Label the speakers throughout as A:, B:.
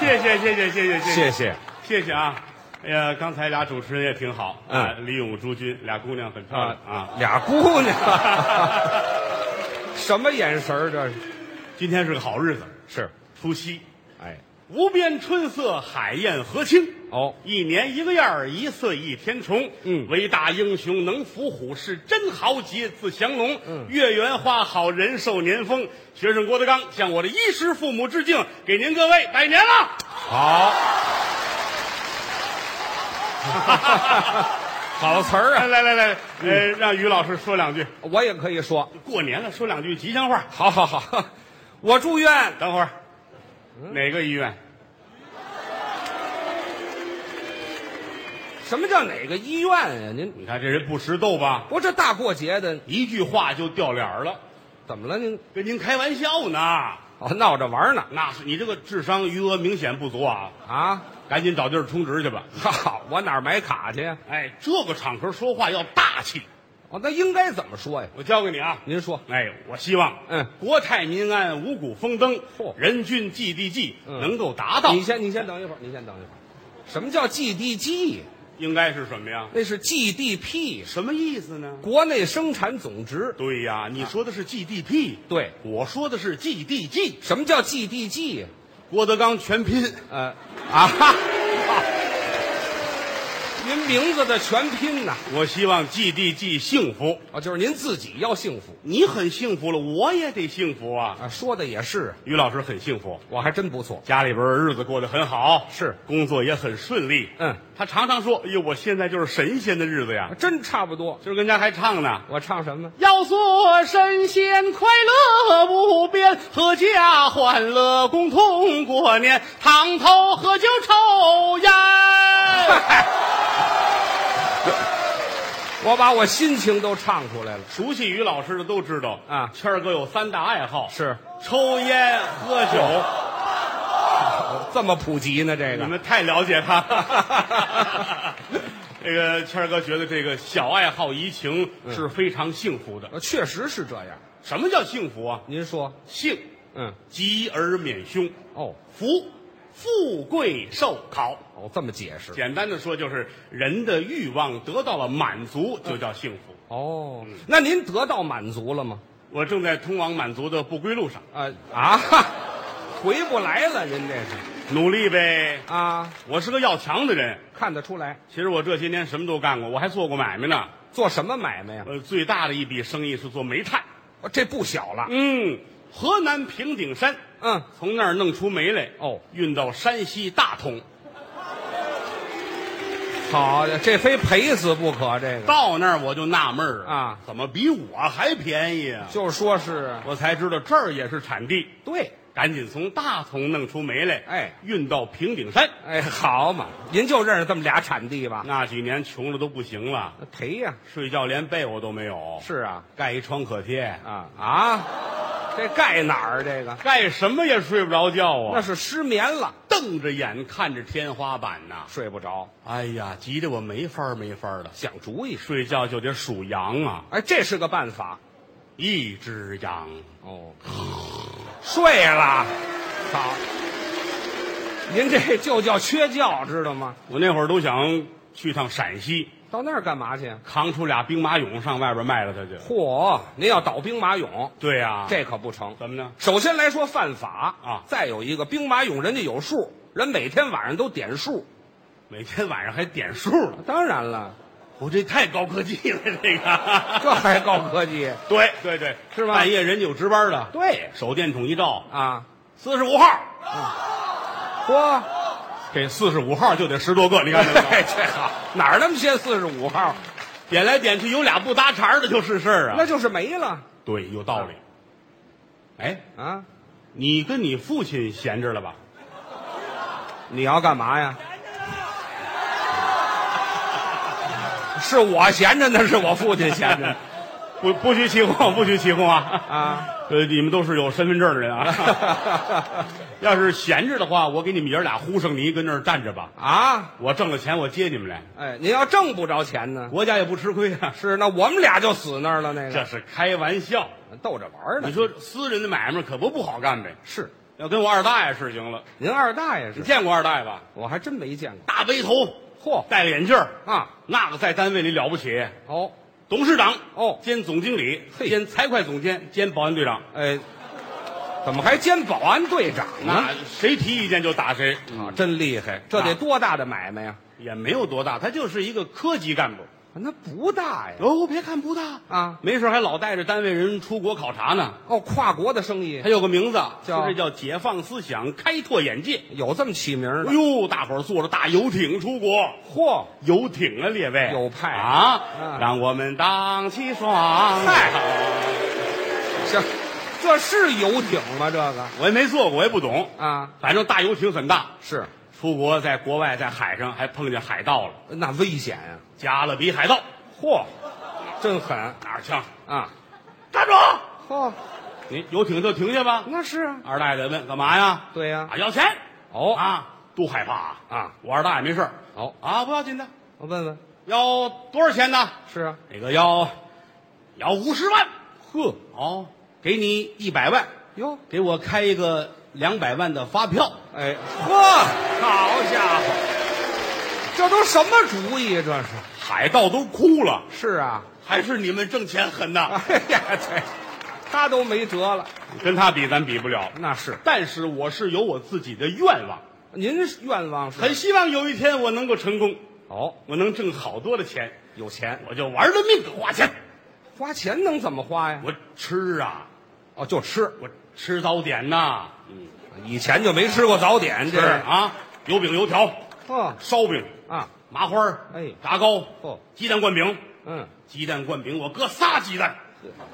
A: 谢谢谢谢谢谢谢谢谢谢谢谢谢
B: 谢谢。
A: 谢谢啊！哎呀，刚才俩主持人也挺好，
B: 嗯
A: 啊，李咏、朱军俩姑娘很漂亮啊。
B: 俩姑娘， 什么眼神儿这是？
A: 今天是个好日子，
B: 是，
A: 除夕，
B: 哎，
A: 无边春色，海燕和清。
B: 哦，
A: 一年一个燕儿，一岁一天虫。
B: 嗯
A: 为大英雄能伏虎，是真豪杰字降龙。嗯，月圆花好人寿年丰。学生郭德纲向我的衣食父母致敬，给您各位拜年了。
B: 好，好词儿
A: 来
B: 啊！
A: 来来来，呃，让于老师说两句，
B: 我也可以说，
A: 过年了说两句吉祥话。
B: 好好好，我住院
A: 等会儿，哪个医院？
B: 什么叫哪个医院呀、您
A: 你看这人不识逗吧？
B: 不这大过节的，
A: 一句话就掉脸儿了，
B: 怎么了您？
A: 跟您开玩笑呢。
B: 哦，闹着玩呢
A: 那是你这个智商余额明显不足啊，
B: 啊！
A: 赶紧找地儿充值去吧。
B: 好，我哪儿买卡去呀？啊
A: 哎，这个场合说话要大气。
B: 哦，那应该怎么说呀？
A: 我教给你啊，
B: 您说，
A: 哎，我希望，
B: 嗯，
A: 国泰民安，五谷丰登，
B: 嚯
A: 人均 GDP
B: 嗯
A: 能够达到，
B: 你先，你先等一会儿，你先等一会儿。什么叫 GDP？
A: 应该是什么呀？
B: 那是 GDP，
A: 什么意思呢？
B: 国内生产总值。
A: 对呀，你说的是 GDP，
B: 对，
A: 我说的是 GDG，
B: 什么叫 GDP？
A: 郭德纲全拼。
B: 呃，啊哈，您名字的全拼呐、
A: 我希望 GDG 幸福，
B: 哦，就是您自己要幸福
A: 你很幸福了，我也得幸福啊。
B: 啊。说的也是，
A: 于老师很幸福，
B: 我还真不错。
A: 家里边日子过得很好，
B: 是
A: 工作也很顺利。
B: 嗯，
A: 他常常说：“哎呦，我现在就是神仙的日子呀
B: 啊！”真差不多。
A: 今儿跟家还唱呢。
B: 我唱什么？
A: 要做神仙，快乐无边，阖家欢乐共同过年，烫头喝酒抽烟。
B: 我把我心情都唱出来了。
A: 熟悉于老师的都知道
B: 啊
A: 谦儿哥有三大爱好：
B: 是
A: 抽烟、喝酒。
B: 呃这么普及呢？这
A: 你
B: 个
A: 们太了解他了。 这个谦儿哥觉得这个小爱好怡情是非常幸福的。
B: 呃确实是这样。
A: 什么叫幸福啊？
B: 您说，
A: 幸，
B: 嗯，
A: 吉而免凶；
B: 哦
A: 福，富贵寿考。
B: 哦，这么解释。
A: 简单的说，就是人的欲望得到了满足，就叫幸福。
B: 哦，那您得到满足了吗？
A: 我正在通往满足的不归路上，
B: 啊啊，回不来了，您这是
A: 努力呗。
B: 啊，
A: 我是个要强的人，
B: 看得出来。
A: 其实我这些年什么都干过，我还做过买卖呢。
B: 做什么买卖呀、
A: 呃，最大的一笔生意是做煤炭。
B: 哦这不小了。
A: 嗯，河南平顶山，
B: 嗯，
A: 从那儿弄出煤来，
B: 哦，
A: 运到山西大同，
B: 好，这非赔死不可。这个
A: 到那儿我就纳闷儿
B: 啊
A: 怎么比我还便宜啊？
B: 就说是
A: 我才知道这儿也是产地，
B: 对。
A: 赶紧从大同弄出煤来，
B: 哎，
A: 运到平顶山。
B: 哎，好嘛，您就认识这么俩产地吧？
A: 那几年穷的都不行了，
B: 那赔呀、
A: 睡觉连被窝都没有，
B: 是啊，
A: 盖一创可贴，
B: 啊啊，这盖哪儿？这个
A: 盖什么也睡不着觉
B: 那
A: 啊，
B: 是失眠了，
A: 瞪着眼看着天花板呐。
B: 睡不着，
A: 哎呀，急得我没法儿没法儿的，
B: 想主意。
A: 睡觉就得数羊啊。
B: 哎，这是个办法
A: 一只羊，
B: 哦。睡了，好。您这就叫缺觉，知道吗？
A: 我那会儿都想去趟陕西，
B: 到那儿干嘛去？
A: 扛出俩兵马俑上外边卖了它去。
B: 嚯，您要倒兵马俑，
A: 对呀、
B: 这可不成。
A: 怎么呢？
B: 首先来说犯法
A: 啊
B: 再有一个兵马俑，人家有数，人每天晚上都点数。
A: 每天晚上还点数呢，
B: 当然了，
A: 我这太高科技了，这个
B: 这还高科技？
A: 对对对，
B: 是吧
A: 半夜人家有值班的，
B: 对
A: 手电筒一照，
B: 啊，
A: 四十五号，
B: 嚯，
A: 这四十五号就得十多个，你看见没
B: 哎
A: 有？
B: 这好，哪儿那么些四十五号？
A: 点来点去有俩不搭茬儿的就是事儿啊。
B: 那就是没了
A: 对，有道理。哎，
B: 啊！
A: 你跟你父亲闲着了吧？
B: 你要干嘛呀？是我闲着呢，是我父亲闲着呢
A: 不不许起哄，不许起哄啊！
B: 啊！
A: 呃，你们都是有身份证的人啊。 要是闲着的话，我给你们爷俩呼上泥，跟那儿站着吧。
B: 啊，
A: 我挣了钱，我接你们来，
B: 哎，您要挣不着钱呢，
A: 国家也不吃亏啊。
B: 是那我们俩就死那儿了，那
A: 这
B: 个
A: 是开玩笑。
B: 逗着玩儿呢。
A: 你说私人的买卖可不不好干呗？
B: 是？
A: 要跟我二大爷是行了，
B: 您二大爷
A: 你
B: 是？
A: 见过二大爷吧？
B: 我还真没见过。
A: 大背头，
B: 嚯
A: 戴个眼镜儿
B: 啊，
A: 那个在单位里了不起，
B: 哦，
A: 董事长
B: 哦
A: 兼总经理
B: 嘿
A: 兼财会总监兼保安队长，
B: 哎，怎么还兼保安队长呢？
A: 那谁提意见就打谁，
B: 嗯啊，真厉害！这得
A: 嗯啊
B: 多大的买卖呀？
A: 也没有多大，他就是一个科级干部。
B: 那不大呀。
A: 哦，别看不大
B: 啊，
A: 没事还老带着单位人出国考察呢。
B: 哦，跨国的生意
A: 他有个名字，
B: 叫
A: 说这叫解放思想，开拓眼界。
B: 有这么起名
A: 哎
B: 的？
A: 呦，大伙儿坐着大游艇出国，
B: 嚯，
A: 游艇啊，列位
B: 有派
A: 啊
B: 啊！
A: 让我们荡起双
B: 嗨
A: 桨。
B: 行，这是游艇吗？这个
A: 我也没坐过，我也不懂。
B: 啊，
A: 反正大游艇很大，
B: 是
A: 出国在国外在海上还碰见海盗了，
B: 那危险呀！
A: 加勒比海盗，
B: 嚯，真狠
A: 拿着枪，
B: 啊！
A: 站住！
B: 嚯，
A: 你游艇就停下吧。
B: 那是啊，
A: 二大爷得问干嘛呀？
B: 对呀
A: 啊，要钱
B: 哦
A: 啊，都害怕
B: 啊。
A: 我二大爷没事儿
B: 哦，
A: 啊，不要紧的，
B: 我问问，
A: 要多少钱呢？
B: 是啊，
A: 那个要要五十万。呵，哦，给你一百万，
B: 哟，
A: 给我开一个两百万的发票。
B: 哎，嚯，
A: 好家伙，
B: 这都什么主意？啊这是
A: 海盗都哭了，
B: 是啊，
A: 还是你们挣钱狠呐！
B: 哎呀，对，他都没辙了。
A: 跟他比，咱比不了。
B: 那是，
A: 但是我是有我自己的愿望，
B: 您愿望是
A: 很希望有一天我能够成功，
B: 哦，
A: 我能挣好多的钱，
B: 有钱
A: 我就玩了命的花钱。
B: 花钱能怎么花呀？
A: 我吃啊，
B: 哦，就吃，
A: 我吃早点呐，
B: 嗯以前就没吃过早点，
A: 是啊，油饼、油条、
B: 哦
A: 烧饼、
B: 啊，
A: 麻花儿
B: 哎
A: 炸糕、
B: 哦
A: 鸡蛋灌饼、
B: 嗯，
A: 鸡蛋灌饼，我搁仨鸡蛋。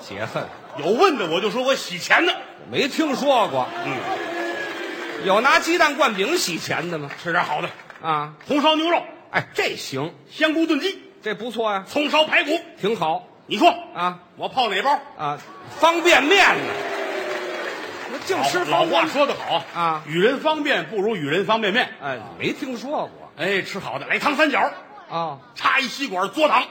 B: 解恨，
A: 有问的我就说我洗钱的，
B: 没听说过，
A: 嗯，
B: 有拿鸡蛋灌饼洗钱的吗？
A: 吃点好的，
B: 啊，
A: 红烧牛肉、
B: 哎，这行，
A: 香菇炖鸡、
B: 这不错呀，
A: 葱烧排骨，
B: 挺好
A: 你说
B: 啊
A: 我泡哪包？
B: 啊，方便面呢，那净吃
A: 老
B: 方
A: 话
B: 便
A: 说得好
B: 啊
A: 与人方便不如与人方便面。
B: 哎，没听说过
A: 哎，吃好的，来汤三角，
B: 啊，
A: 插一吸管嘬糖。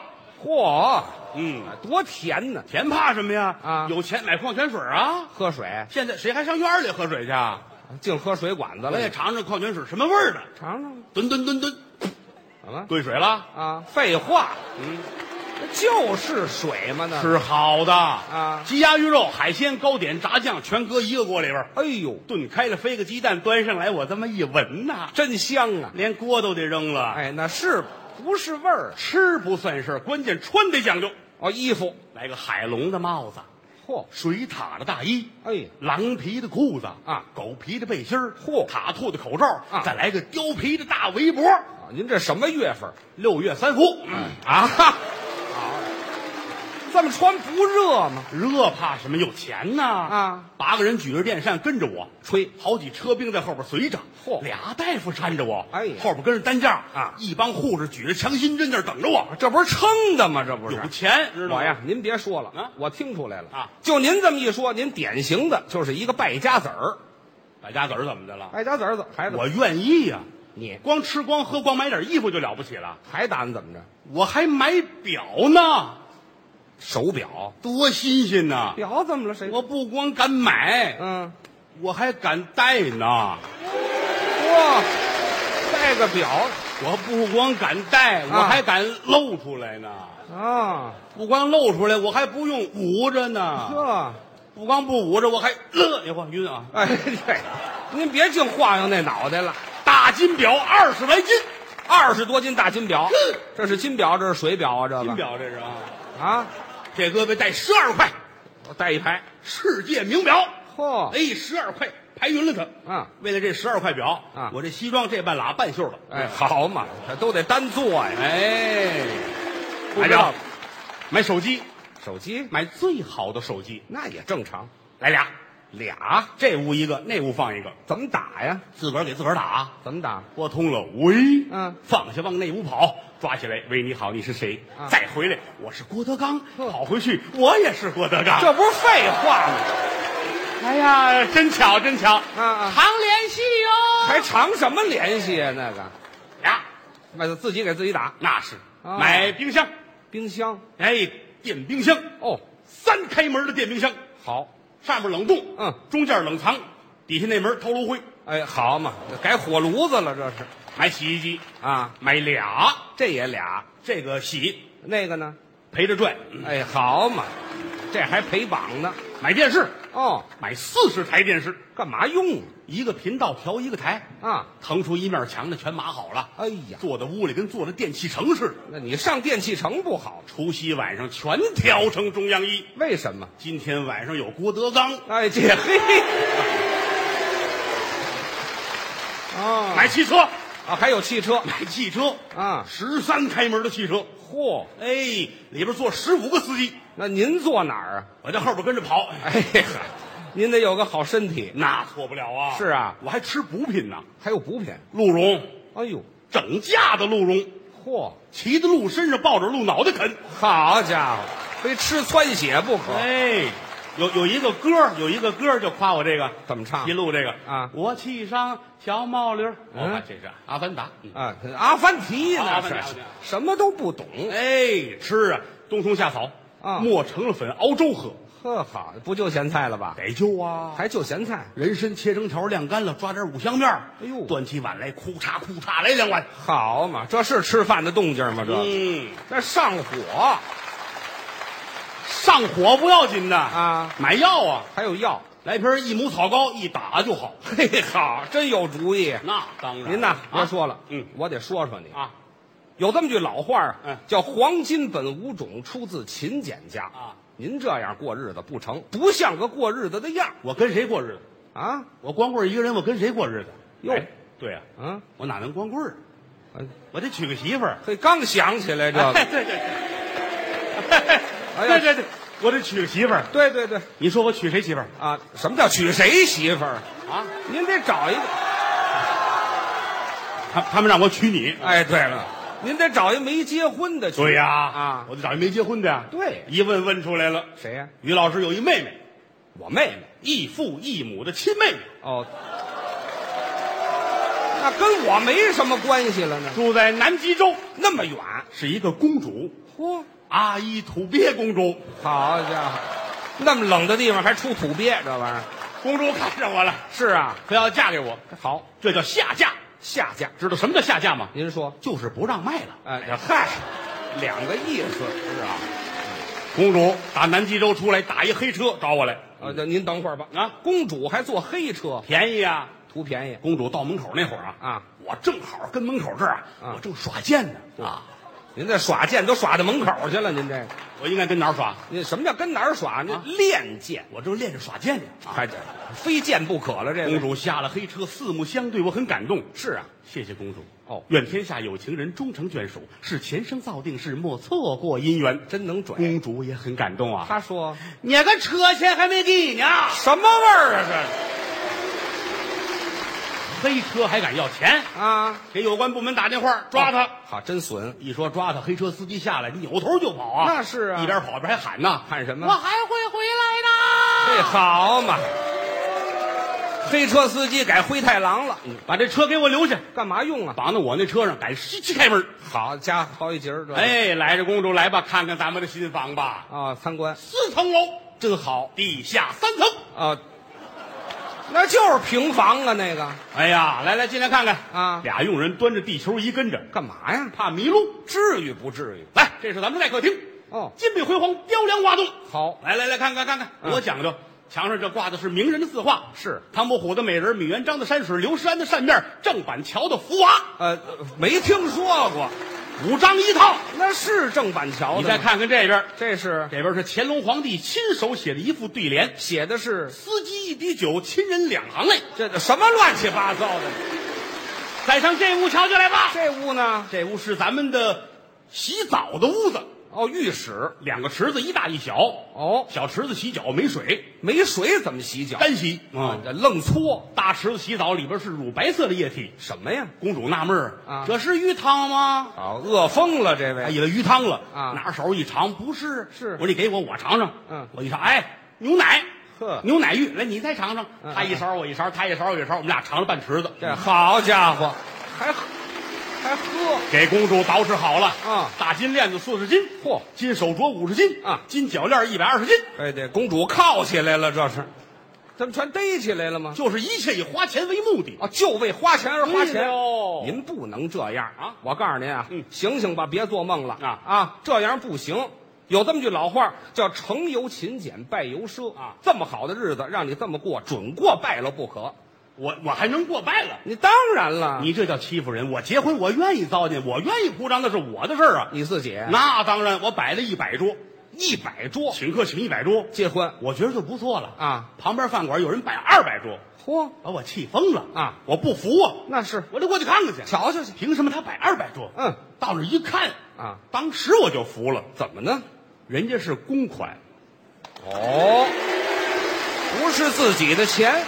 B: 嚯，
A: 嗯，
B: 多甜呢！
A: 甜怕什么呀？
B: 啊
A: 有钱买矿泉水啊！
B: 喝水，
A: 现在谁还上院儿里喝水去啊？
B: 净喝水管子
A: 我
B: 了，
A: 也尝尝矿泉水什么味儿的，
B: 尝尝
A: 吨吨吨吨，
B: 怎么
A: 兑水了，
B: 啊？废话，嗯，就是水嘛那。
A: 吃好的
B: 啊
A: 鸡鸭鱼肉、海鲜、糕点、炸酱，全搁一个锅里边儿
B: 哎呦，
A: 炖开了，飞个鸡蛋端上来，我这么一闻呐，
B: 真香啊！
A: 连锅都得扔了。
B: 哎，那是不是味儿啊？
A: 吃不算事儿，关键穿得讲究。
B: 哦，衣服，
A: 来个海龙的帽子，
B: 嚯，
A: 水獭的大衣，
B: 哎，
A: 狼皮的裤子
B: 啊
A: 狗皮的背心儿，
B: 嚯
A: 塔兔的口罩
B: 啊
A: 再来个貂皮的大围脖。
B: 啊您这什么月份儿
A: 六月三伏、嗯啊，
B: 这么穿不热吗？
A: 热怕什么？有钱呐！
B: 啊，
A: 八个人举着电扇跟着我，
B: 吹
A: 好几车兵在后边随着，
B: 嚯
A: 俩大夫搀着我，
B: 哎呀
A: 后边跟着担架
B: 啊哎
A: 一帮护士举着强心针在那儿等着我。
B: 这不是撑的吗？这不是
A: 有。钱，知道吗
B: 我呀，您别说了，
A: 啊
B: 我听出来了
A: 啊！
B: 就您这么一说，您典型的就是一个败家子儿，
A: 败家子儿怎么的了？
B: 败家子儿怎孩子？
A: 我愿意呀、
B: 你
A: 光吃光喝光买点衣服就了不起了，
B: 还打算怎么着？
A: 我还买表呢，
B: 手表，
A: 多新鲜呐！
B: 表怎么了？谁？
A: 我不光敢买，
B: 嗯，
A: 我还敢戴呢。
B: 哇，戴个表
A: 我不光敢戴，我
B: 啊
A: 还敢露出来呢。
B: 啊，
A: 不光露出来，我还不用捂着呢。
B: 这，
A: 不光不捂着，我还乐你晃晕啊！
B: 哎对，您别净晃悠那脑袋了，
A: 大金表二十来斤，
B: 二十多斤大金表，这是金表，这是水表啊，这
A: 金
B: 个
A: 表这是啊，
B: 啊，
A: 这胳膊戴十二块，
B: 我戴一排，
A: 世界名表。
B: 嚯，
A: 哎，十二块排匀了它。
B: 啊，
A: 为了这十二块表
B: 啊
A: 我这西装这半拉半袖的。
B: 哎，好嘛，这都得单做呀，
A: 哎，
B: 不
A: 买
B: 知道
A: 表，买手机，
B: 手机
A: 买最好的手机，
B: 那也正常，
A: 来俩，
B: 俩
A: 这屋一个，那屋放一个，
B: 怎么打呀？
A: 自个儿给自个儿打。
B: 怎么打？
A: 拨通了，喂，
B: 嗯
A: 放下往那屋跑，抓起来，喂，你好，你是谁？
B: 啊
A: 再回来，我是郭德纲，
B: 嗯
A: 跑回去，我也是郭德纲。
B: 这不是废话吗？
A: 哎呀，真巧，真巧，
B: 啊啊
A: 常联系哟。哎
B: 还长什么联系呀、那个，
A: 呀，
B: 那自己给自己打
A: 那是
B: 啊
A: 买冰箱，
B: 冰箱
A: 哎，电冰箱，
B: 哦，
A: 三开门的电冰箱，
B: 好，
A: 上面冷冻，
B: 嗯，
A: 中间冷藏，底下那门掏炉灰。
B: 哎，好嘛，改火炉子了这是
A: 买洗衣机，
B: 啊，
A: 买俩，
B: 这也俩，
A: 这个洗
B: 那个呢，
A: 陪着转，嗯
B: 哎，好嘛，这还陪绑呢
A: 买电视，
B: 哦，
A: 买四十台电视，
B: 干嘛用
A: 一个频道调一个台，
B: 啊？
A: 腾出一面墙的全码好了。
B: 哎呀，
A: 坐在屋里跟坐在电器城似的，
B: 那你上电器城不好，
A: 除夕晚上全调成中央一。
B: 为什么？
A: 今天晚上有郭德纲，
B: 哎，这 嘿，啊
A: 买汽车，
B: 啊，还有汽车
A: 买汽车
B: 啊
A: 十三开门的汽车，
B: 嚯，
A: 哎，里边坐十五个司机，
B: 那您坐哪儿啊？
A: 我在后边跟着跑，
B: 哎呀，您得有个好身体，
A: 那错不了啊。
B: 是啊
A: 我还吃补品呢，
B: 还有补品。
A: 鹿茸，
B: 哎呦，
A: 整架的鹿茸，
B: 嚯，
A: 骑在鹿身上抱着鹿脑袋啃。
B: 好家伙，非吃窜血不可。
A: 哎，有有一个歌儿，有一个歌儿就夸我这个
B: 怎么唱
A: 一路这个
B: 啊
A: 我沏上小帽驴儿，我
B: 嗯
A: 看这是阿凡达。嗯
B: 啊，阿凡提呢？
A: 阿凡达
B: 是
A: 阿凡达
B: 什么都不懂。
A: 哎，吃啊，冬虫夏草
B: 嗯啊
A: 磨成了粉熬粥喝，
B: 呵，好，不就咸菜了吧？
A: 得救啊！
B: 还就咸菜，
A: 人参切成条晾干了，抓点五香面儿
B: 哎呦
A: 端起碗来，哭嚓哭嚓来两碗。
B: 好嘛，这是吃饭的动静吗？这
A: 嗯，
B: 那上火
A: 上火不要紧的
B: 啊，
A: 买药啊，
B: 还有药。
A: 来瓶益母草膏，一打就好。
B: 嘿，好，真有主意。
A: 那当然，
B: 您呐，别
A: 啊
B: 说了，
A: 嗯
B: 我得说说你。
A: 啊
B: 有这么句老话儿
A: 嗯
B: 叫“黄金本无种，出自勤俭家”。
A: 啊，
B: 您这样过日子不成，不像个过日子的样儿
A: 我跟谁过日子？
B: 啊。
A: 我光棍一个人，我跟谁过日子？
B: 哟
A: 哎对啊，
B: 嗯，
A: 我哪能光棍儿？啊
B: 哎
A: 我得娶个媳妇儿。
B: 嘿，刚想起来这
A: 哎，
B: 个，
A: 对对对，
B: 哎
A: 对
B: 呀
A: 对对，我得娶个媳妇儿。
B: 对对对
A: 你说我娶谁媳妇儿
B: 啊，什么叫娶谁媳妇儿？
A: 啊？
B: 您得找一个。
A: 他他们让我娶你。
B: 哎，对了，您得找一没结婚的娶。
A: 对呀，
B: 啊
A: 我得找一没结婚的呀。
B: 对
A: 一问问出来了，
B: 谁呀、
A: 于老师有一妹妹，
B: 我妹妹。
A: 异父异母的亲妹妹，
B: 哦，那跟我没什么关系了呢。
A: 住在南极洲，
B: 那么远，
A: 是一个公主，
B: 嚯，
A: 阿依土鳖公主。
B: 好家伙，那么冷的地方还出土鳖，这玩意儿
A: 公主看上我了，
B: 是啊。
A: 非要嫁给我，
B: 好，
A: 这叫下嫁。
B: 下嫁，
A: 知道什么叫下嫁吗？
B: 您说，
A: 就是不让卖了。
B: 哎，嗨，两个意思是啊。
A: 公主打南极洲出来，打一黑车找我来，
B: 呃，那您等会儿吧。
A: 啊，
B: 公主还坐黑车，
A: 便宜啊！
B: 图便宜。
A: 公主到门口那会儿啊，
B: 啊，
A: 我正好跟门口这儿啊
B: 啊，
A: 我正耍剑呢啊，
B: 您这耍剑都耍到门口去了，您这个，
A: 我应该跟哪儿耍？
B: 您什么叫跟哪儿耍？您
A: 啊
B: 练剑，
A: 我正练着耍剑呢。啊
B: 还这非剑不可了。这个
A: 公主下了黑车，四目相对，我很感动。
B: 是啊，
A: 谢谢公主。
B: 哦
A: 愿天下有情人终成眷属，是前生造定事，莫错过姻缘。
B: 真能拽。
A: 公主也很感动啊。
B: 他说
A: 你个车钱还没给你呢，
B: 什么味儿啊？
A: 黑车还敢要钱？
B: 这啊，
A: 给有关部门打电话，抓他！
B: 好，真损。
A: 一说抓他，黑车司机下来，扭头就跑啊！
B: 那是啊
A: 一边跑一边还喊哎呢，
B: 喊什么
A: 我还会回来
B: 这
A: 的。
B: 哎好嘛，黑车司机改灰太狼了，嗯
A: 把这车给我留下，
B: 干嘛用啊？
A: 绑到我那车上，赶西七开门。
B: 好家伙，好一截儿这。
A: 哎，来着，公主来吧，看看咱们的新房吧，
B: 啊，参观
A: 四层楼，真好，地下三层。
B: 啊，那就是平房啊，那个
A: 哎呀，来来，进来看看
B: 啊
A: 俩佣人端着地球仪跟着，
B: 干嘛呀？
A: 怕迷路。
B: 至于不至于？
A: 来，这是咱们的待客厅，
B: 哦，
A: 金碧辉煌，雕梁画栋。
B: 好，
A: 来来来，看看看看，
B: 嗯
A: 多讲究！墙上这挂的是名人的字画，
B: 是
A: 唐伯虎的美人，米元璋的山水，刘诗安的扇面，郑板桥的福娃，
B: 呃，没听说过，
A: 五张一套。
B: 那是郑板桥的。
A: 你再，看看这边，
B: 这是
A: 这边是乾隆皇帝亲手写的一副对联：
B: 写的是
A: 司机一滴酒，亲人两行泪。
B: 这什么乱七八糟的？
A: 再上这屋瞧瞧来吧。
B: 这屋呢？
A: 这屋是咱们的洗澡的屋子，
B: 哦，浴室
A: 两个池子，一大一小。
B: 哦，
A: 小池子洗脚没水，
B: 没水怎么洗脚？
A: 干洗
B: 啊
A: 啊，；
B: 这愣搓
A: 大池子洗澡里边是乳白色的液体，
B: 什么呀？
A: 公主纳闷儿
B: 啊
A: 这是鱼汤吗？
B: 啊，饿疯了这
A: 她
B: 位。
A: 以为鱼汤了
B: 啊
A: 拿手一尝，不是，
B: 是
A: 我说你给我，我尝尝，
B: 嗯
A: 我一尝，哎，牛奶，
B: 呵
A: 牛奶浴，来你再尝尝，
B: 嗯
A: 他一勺我一勺，他一勺我一勺，我们俩尝了半池子，
B: 这好家伙，还喝还喝，
A: 给公主捯饬好了
B: 啊
A: 大金链子四十斤，
B: 嚯
A: 金手镯五十斤
B: 啊
A: 金脚链一百二十斤，
B: 哎，这公主铐起来了，这是，他们全逮起来了吗？
A: 就是一切以花钱为目的。
B: 啊，就为花钱而花
A: 对
B: 钱
A: 喽
B: 您不能这样
A: 啊
B: 我告诉您啊，
A: 嗯
B: 醒醒吧，别做梦了
A: 啊
B: 啊，这样不行。有这么句老话叫“成由勤俭，败由奢”
A: 啊
B: 这么好的日子让你这么过，准过败了不可。
A: 我我还能过败了？
B: 你当然了，
A: 你这叫欺负人！我结婚，我愿意糟践，我愿意铺张，那是我的事儿啊。
B: 你自己
A: 那当然，我摆了一百桌，
B: 嗯一百桌
A: 请客请一百桌，
B: 结婚，
A: 我觉得就不错了
B: 啊。
A: 旁边饭馆有人摆二百桌，
B: 嚯，
A: 把我气疯了
B: 啊！
A: 我不服啊，
B: 那是
A: 我得过去看看去。
B: 瞧瞧去
A: 凭什么他摆二百桌？
B: 嗯，
A: 到那儿一看
B: 啊，
A: 当时我就服了。
B: 怎么呢？
A: 人家是公款，
B: 哦，不是自己的钱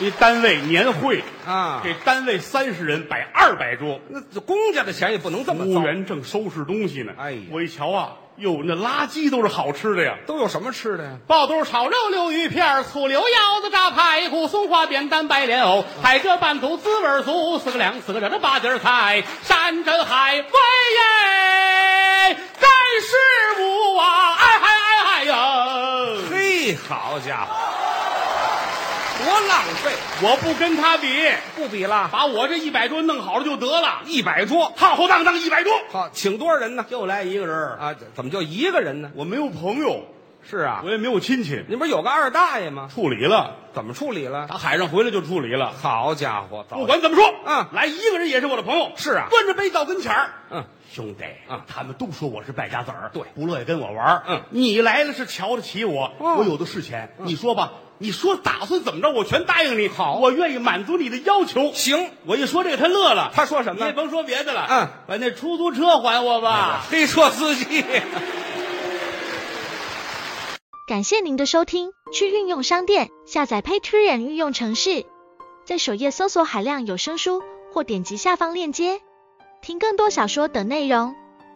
A: 一单位年会，
B: 啊，
A: 给单位三十人摆二百桌，
B: 那公家的钱也不能这
A: 服
B: 么啊
A: 务
B: 糟。
A: 员正收拾东西呢。
B: 哎呀
A: 我一瞧啊，哟，那垃圾都是好吃的呀。
B: 都有什么吃的呀？
A: 爆肚、炒肉、溜鱼片儿、醋溜腰子、炸排骨、松花扁担、白莲
B: 啊
A: 藕、海蜇拌肚、滋味儿足，四个凉，四个热的八碟儿菜，山珍海味耶，盖世无啊！哎嗨哎嗨呀！
B: 嘿，好家伙，多浪费！
A: 我不跟他比，
B: 不比了，
A: 把我这一百桌弄好了就得了，
B: 一百桌，
A: 浩浩荡荡一百桌，
B: 好，请多少人呢？
A: 就来一个人。
B: 啊，怎么就一个人呢？
A: 我没有朋友，
B: 是啊，
A: 我也没有亲戚，
B: 你不是有个二大爷吗？
A: 处理了，
B: 怎么处理了？
A: 打海上回来就处理了。
B: 好家伙，早
A: 不管怎么说，
B: 嗯
A: 来一个人也是我的朋友。
B: 是啊
A: 端着杯到跟前儿，
B: 嗯，
A: 兄弟，
B: 嗯
A: 他们都说我是败家子儿，
B: 对
A: 不乐意跟我玩儿。
B: 嗯
A: 你来了是瞧得起我，
B: 哦
A: 我有的是钱，你说吧，你说打算怎么着，我全答应你。嗯好，我愿意满足你的要求。
B: 行，
A: 我一说这个，他乐了。
B: 他说什
A: 你
B: 么
A: 也
B: 呢？
A: 甭说别的了，
B: 嗯，
A: 把那出租车还我吧。
B: 黑车司机。
C: 感谢您的收听，去应用商店下载 Patreon 应用城市，在首页搜索海量有声书，或点击下方链接听更多小说等内容。